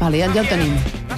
Vale, ja, ja el tenim.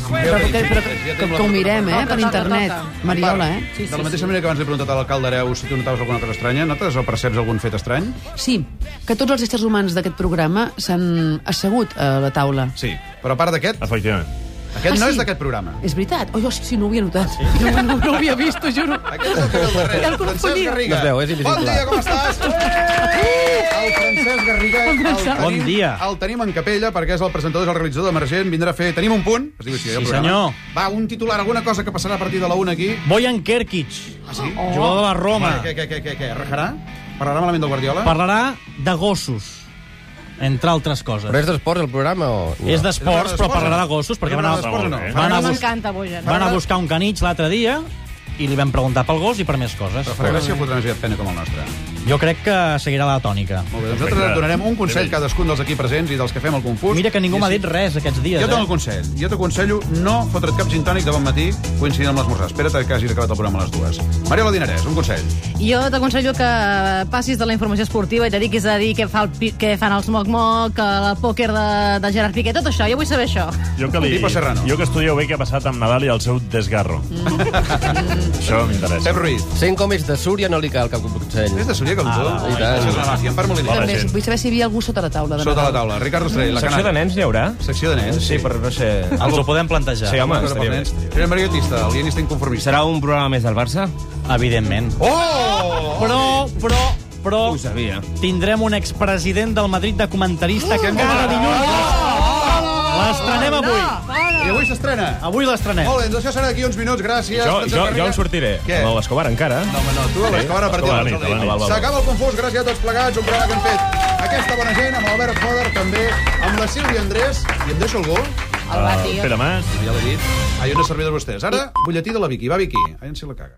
Però, que, però que, que, que ho mirem, eh, per internet. Mariola, eh? De la mateixa manera que abans li he preguntat a l'alcalde Areu si tu notaves alguna cosa estranya, notes o perceps algun fet estrany? Sí, que tots els éssers humans d'aquest programa s'han assegut a la taula. Sí. Però a part d'aquest, Efectivament. aquest Ah, no sí? és d'aquest programa. Ah, És veritat? Oh, jo sí, sí, no ho havia notat. No, no, no ho havia vist, t'ho juro. Aquest és el que és al darrere. Ja el Francesc confonia. Garriga. No es eh, veu, és invisible. Bon dia, com estàs? El Francesc Garriga el tenim, Bon dia. el tenim en capella perquè és el presentador, és el realitzador d'Emergent, vindrà a fer... Tenim un punt? Es diu així, eh, el Sí, programa. senyor. Va, un titular, alguna cosa que passarà a partir de la una aquí. Bojan Kerkic, Ah, sí? jugador de la Roma, Què, què, què, què, què? Rajarà? Parlarà malament del Guardiola? parlarà de gossos, entre altres coses. Però és d'esports, el programa, o...? No. És És d'esports, una però cosa. parlarà de gossos, perquè Una van a, cosa d'esports, no? van, a No bus m'encanta, Bojan. van a buscar un canitx l'altre dia i li vam preguntar pel gos i per més coses. Però farà gràcia o fotrà energia pena com el nostre? Jo crec que seguirà la tònica. Molt bé, doncs nosaltres donarem un consell a cadascun dels aquí presents i dels que fem el confús. Mira que ningú I m'ha si- dit res aquests dies. Jo et dono el Eh? consell. Jo t'aconsello no fotre't cap gin tònic de bon matí coincidint amb l'esmorzar. Espera't que hagis acabat el programa a les dues. Mariola Dinarès, un consell. Jo t'aconsello que passis de la informació esportiva i te dediquis a dir què, fa el, pi- què fan els moc-moc, el pòquer de, de Gerard Piqué, tot això, jo vull saber això. Jo que, li, Pipo Serrano. jo que estudieu bé què ha passat amb Nadal i el seu desgarro. Això m'interessa. Pep Ruiz. Sent com és de Súria, no li cal cap consell. És de Súria, que l'autor? i tant. Això és una màfia. En Parc Moliner. Hola, També gent. vull saber si hi havia algú sota la taula. De Sota la Nadal. taula. Ricard Estrell, la Secció de canalla. nens n'hi haurà? Secció de nens. Sí, però no sé... Ens ho podem plantejar. Sí, home, Cosa per estaria bé. nens. Era mariotista, el guionista inconformista. Serà un programa més del Barça? Evidentment. Oh! Però, però, però... Ho sabia. Tindrem un expresident del Madrid de comentarista que cada dilluns... L'estrenem avui. I avui s'estrena. Avui l'estrenem. Molt bé, doncs això serà d'aquí uns minuts. Gràcies. Jo, Francesc jo, jo Garriga. en sortiré. Què? Amb l'Escobar, encara. No, home, no, tu a les que van a partir de Escolta, la les nit, la nit. Aldeia. S'acaba el confús, gràcies a tots plegats, un programa que hem fet aquesta bona gent, amb Albert Foder també, amb la Sílvia Andrés, i em deixo Ah, algú? El bati, Pere Mas. Ja l'he dit. Ah, jo no servei de vostès. Ara, butlletí de la Vicky. Va, Vicky, a si la caga.